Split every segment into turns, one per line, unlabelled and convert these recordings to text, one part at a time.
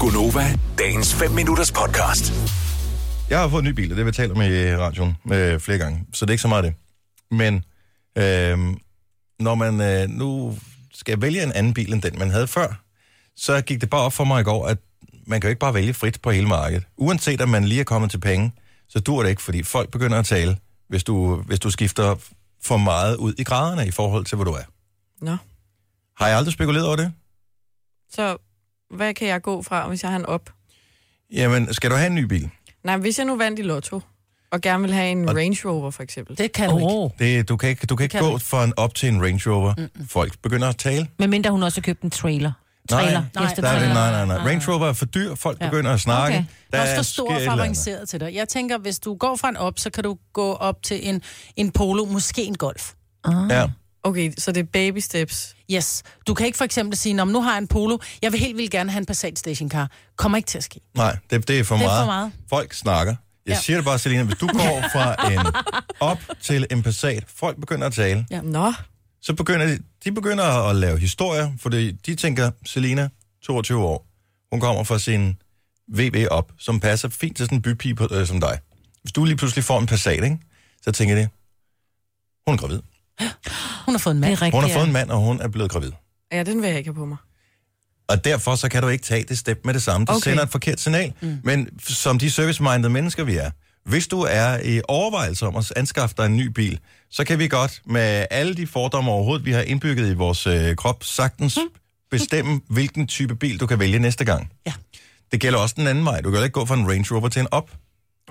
Gunova, dagens 5 minutters podcast.
Jeg har fået en ny bil, og det har vi talt om i radioen øh, flere gange, så det er ikke så meget det. Men øh, når man øh, nu skal vælge en anden bil end den, man havde før, så gik det bare op for mig i går, at man kan jo ikke bare vælge frit på hele markedet. Uanset om man lige er kommet til penge, så dur det ikke, fordi folk begynder at tale, hvis du, hvis du skifter for meget ud i graderne i forhold til, hvor du er.
Nå.
Har jeg aldrig spekuleret over det?
Så hvad kan jeg gå fra, hvis jeg har en op?
Jamen, skal du have en ny bil?
Nej, hvis jeg nu vandt i lotto, og gerne vil have en Range Rover for eksempel.
Det kan oh. du ikke.
Det, du kan ikke, du kan ikke
kan
kan
du
gå fra en op til en Range Rover. Mm-mm. Folk begynder at tale.
Men mindre hun også har købt en trailer. Trailer.
nej,
Efter
der er det,
trailer.
nej, nej, nej. Range Rover er for dyr, folk ja. begynder at snakke.
Okay.
Okay. Der
Der også for stor
sker et
og
eller
for
andet.
avanceret til dig. Jeg tænker, hvis du går fra en op, så kan du gå op til en, en polo, måske en golf.
Ja.
Okay, så det er baby steps.
Yes. Du kan ikke for eksempel sige, om nu har jeg en polo, jeg vil helt vildt gerne have en Passat stationcar. Kommer ikke til at ske.
Nej, det, det, er for,
Det er for
meget.
meget.
Folk snakker. Jeg ja.
Ja.
siger det bare, Selina, hvis du går fra en op til en Passat, folk begynder at tale,
Ja.
Nå,
så begynder de, de begynder at lave historier, fordi de tænker, Selina, 22 år, hun kommer fra sin VW op, som passer fint til sådan en bypige på- øh, som dig. Hvis du lige pludselig får en Passat, ikke, så tænker det, hun er gravid.
Hun har fået en
Det
mand.
er rigtigt.
Hun har
ja.
fået en mand, og hun er blevet gravid.
ja, den vil jeg ikke have på mig.
Og derfor så kan du ikke tage det step med det samme. Det okay.
Okay.
sender et forkert signal. Mm. Men f- som de service-minded mennesker, vi er, hvis du er i overvejelse om at anskaffe dig en ny bil, så kan vi godt med alle de fordomme overhovedet, vi har indbygget i vores øh, krop, sagtens mm. bestemme, hvilken type bil du kan vælge næste gang.
Ja.
Det gælder også den anden vej. Du kan jo ikke gå fra en Range Rover til en op.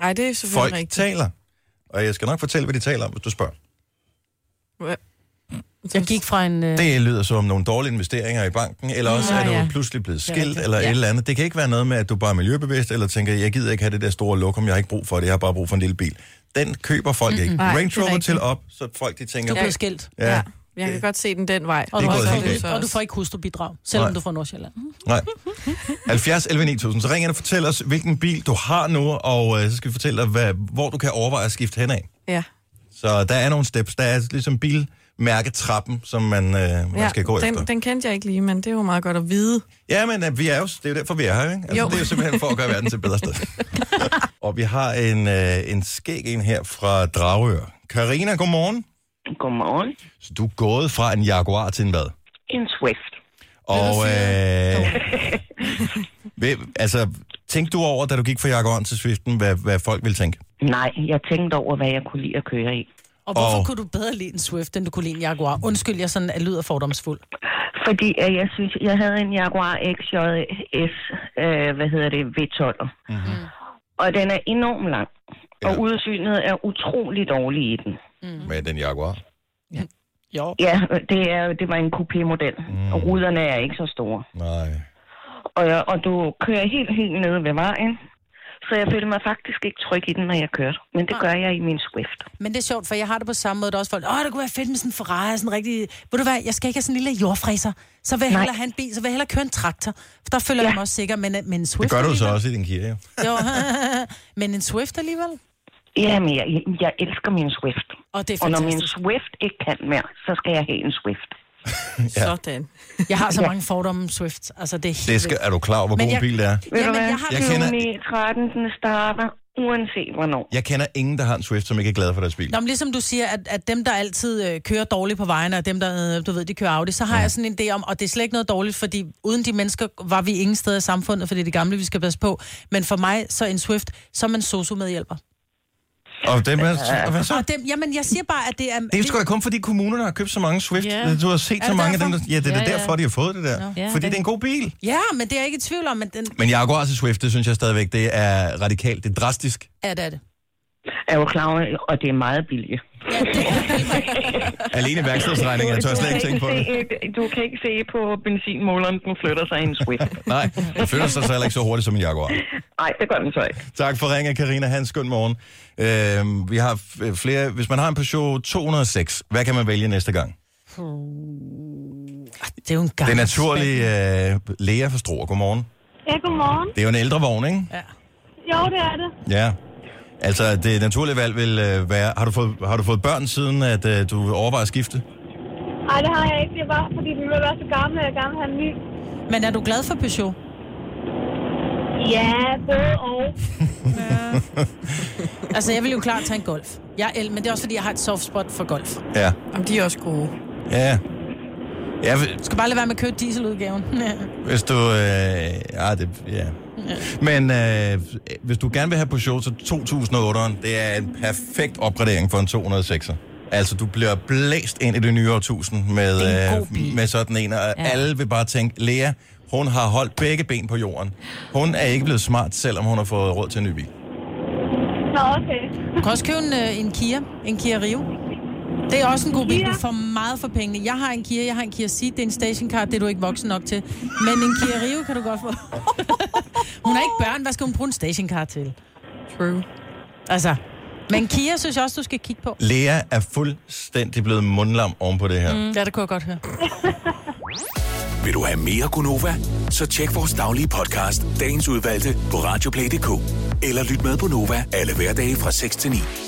Nej, det er selvfølgelig
Folk
rigtigt.
taler. Og jeg skal nok fortælle, hvad de taler om, hvis du spørger.
Hva-
Jeg gik fra en... Øh...
Det lyder som nogle dårlige investeringer i banken, eller også
Nå,
er du
ja.
pludselig blevet
er
skilt,
rigtigt.
eller
Ja.
et eller andet. Det kan ikke være noget med, at du bare er miljøbevidst, eller tænker, jeg gider ikke have det der store lokum, jeg har ikke brug for det, jeg har bare brug for en lille bil. Den køber folk ikke.
Nej,
Range
det er
Rover
rigtigt.
til op, så folk de tænker...
Du blev skilt.
ja, ja.
Jeg kan godt se den den vej.
Og du,
er
har
gået
ikke
helt
fået- og du får ikke hustrubidrag, selvom
Nej.
du får Nordsjælland.
Nej. 70 11 9000. Så ring ind og fortæl os, hvilken bil du har nu, og øh, så skal vi fortælle dig, hvad, hvor du kan overveje at skifte henad.
Ja.
Så der er nogle steps. Der er ligesom bilmærketrappen, som man, øh, man
ja.
skal gå efter.
den, den kendte jeg ikke lige, men det er jo meget godt at vide.
Ja, men øh, vi er jo, det er jo derfor, vi er her, ikke? Altså,
Jo.
det er jo simpelthen for at gøre verden til et bedre sted. og vi har en, øh, en skæg en her fra Dragør. Karina, godmorgen.
Godmorgen.
Så du er gået fra en Jaguar til en hvad?
En Swift.
Og øh, ved, altså, tænkte du over, da du gik fra Jaguaren til Swiften, hvad, hvad folk ville tænke?
Mm.
Nej, jeg tænkte over, hvad jeg kunne lide at køre i.
Og hvorfor
Og-
og... kunne du bedre lide en Swift, end du kunne lide en Jaguar? Undskyld, jeg sådan er lyder fordomsfuld.
Fordi at jeg synes, jeg havde en Jaguar XJS, øh, hvad hedder det, V12. Mm-hmm. Og den er enormt lang. Og
Ja.
udsynet er utrolig dårlig i den.
Med den Jaguar.
Jo.
Ja, det, er, det var en coupé-model. Mm. Og ruderne er ikke så store.
Nej.
Og, jeg- og du kører helt, helt nede ved vejen. Så jeg følte mig faktisk ikke tryg i den, når jeg kørte. Men det gør jeg i min Swift.
Men det er sjovt, for jeg har det på samme måde. Der er også folk, åh, det kunne være fedt med sådan en Ferrari, sådan en rigtig... Ved du hvad, jeg skal ikke have sådan en lille jordfræser. Så vil jeg
Nej.
hellere have en bil, så vil jeg hellere køre en traktor. For der føler ja. jeg mig også sikker, men, men en
Det
Swift
gør du så
alligevel-
også i din Kia, jo.
Jo, men en Swift alligevel.
Ja, men jeg, jeg elsker min Swift.
Og det er
Og når min
fantastisk.
Swift ikke kan mere, så skal jeg have en Swift.
Sådan.
Jeg har så mange fordomme om Swift. Altså, det er helt
Det skal, er du klar over, hvor
Men
god en
jeg-
bil det er?
Ved du
Jamen,
hvad?
jeg har
Jeg
det jo-
kender-
Juni 13, den starter uanset hvornår.
Jeg kender ingen, der har en Swift, som ikke er glad for deres bil.
Nå, men ligesom du siger, at, at dem, der altid øh, kører dårligt på vejene, og dem, der, øh, du ved, de kører Audi, så har ja. jeg sådan en idé om, og det er slet ikke noget dårligt, fordi uden de mennesker var vi ingen steder i samfundet, for det er det gamle, vi skal passe på. Men for mig, så er en Swift, så er man sosu-medhjælper.
Og dem er, hvad så?
Og dem, jamen, jeg siger bare, at det er...
Det er sgu da kun fordi kommunerne har købt så mange Swift. Yeah. Du har set så
det
mange af dem. Der,
derfor?
ja, det er ja,
Ja, ja.
derfor, de har fået det der.
Ja,
fordi
den-
det er en god bil.
Ja, men det er jeg ikke i tvivl om, men den
Men jeg går også til Swift, det synes jeg stadigvæk, det er radikalt, det er drastisk.
er det. er det.
Jeg er jo klar over, og det er meget billigt.
Alene værkstedsregninger, jeg tør slet ikke tænke på det.
du kan ikke se på benzinmåleren, den flytter sig i en Swift.
Nej, det føler sig så heller ikke så hurtigt som en Jaguar.
Nej, det gør den så ikke.
Tak for ringen, Karina Hans. Skøn morgen. Øh, vi har f- flere. Hvis man har en Peugeot 206, hvad kan man vælge næste gang?
Det er jo en
Det
gammel...
naturlige øh, Lea fra Struer. Godmorgen.
Ja, godmorgen.
Det er jo en ældre vogn, ikke?
Jo, det er det.
Ja. Altså, det naturlige valg vil øh, være... Har du, fået, har du fået børn siden, at øh, du overvejer at skifte?
Nej, det har jeg ikke. Det er bare, fordi den vil være så gammel, at jeg gerne vil have en ny.
Men er du glad for Peugeot?
Ja, både og.
Altså, jeg vil jo klart tage en golf. Jeg er el, men det er også, fordi jeg har et soft spot for golf. Du
Ja.
Om de er også gode.
Ja. Ja,
skal bare lade være med at købe dieseludgaven.
Hvis du... Øh, ja, det, ja. Men øh, hvis du gerne vil have Peugeot, så 2008'eren, det er en perfekt opgradering for en 206'er. Altså, du bliver blæst ind i det nye årtusind med,
Det er en god
øh,
bil.
med sådan en, og ja. alle vil bare tænke, Lea, hun har holdt begge ben på jorden. Hun er ikke blevet smart, selvom hun har fået råd til en ny bil.
Nå, okay.
Du kan også købe en, øh, en Kia, en Kia Rio. Det er også en god bil, du får meget for pengene. Jeg har en Kia, jeg har en Kia Ceed, det er en stationcar, det er du ikke voksen nok til. Men en Kia Rio kan du godt få. hun er ikke børn, hvad skal hun bruge en stationcar til?
True.
Altså, men Kia synes jeg også, du skal kigge på.
Lea er fuldstændig blevet mundlam oven på det her. Mm.
Ja, det kunne jeg godt høre.
Vil du have mere Gunova? Så tjek vores daglige podcast, dagens udvalgte, på radioplay.dk. Eller lyt med på Nova alle hverdage fra 6 til 9.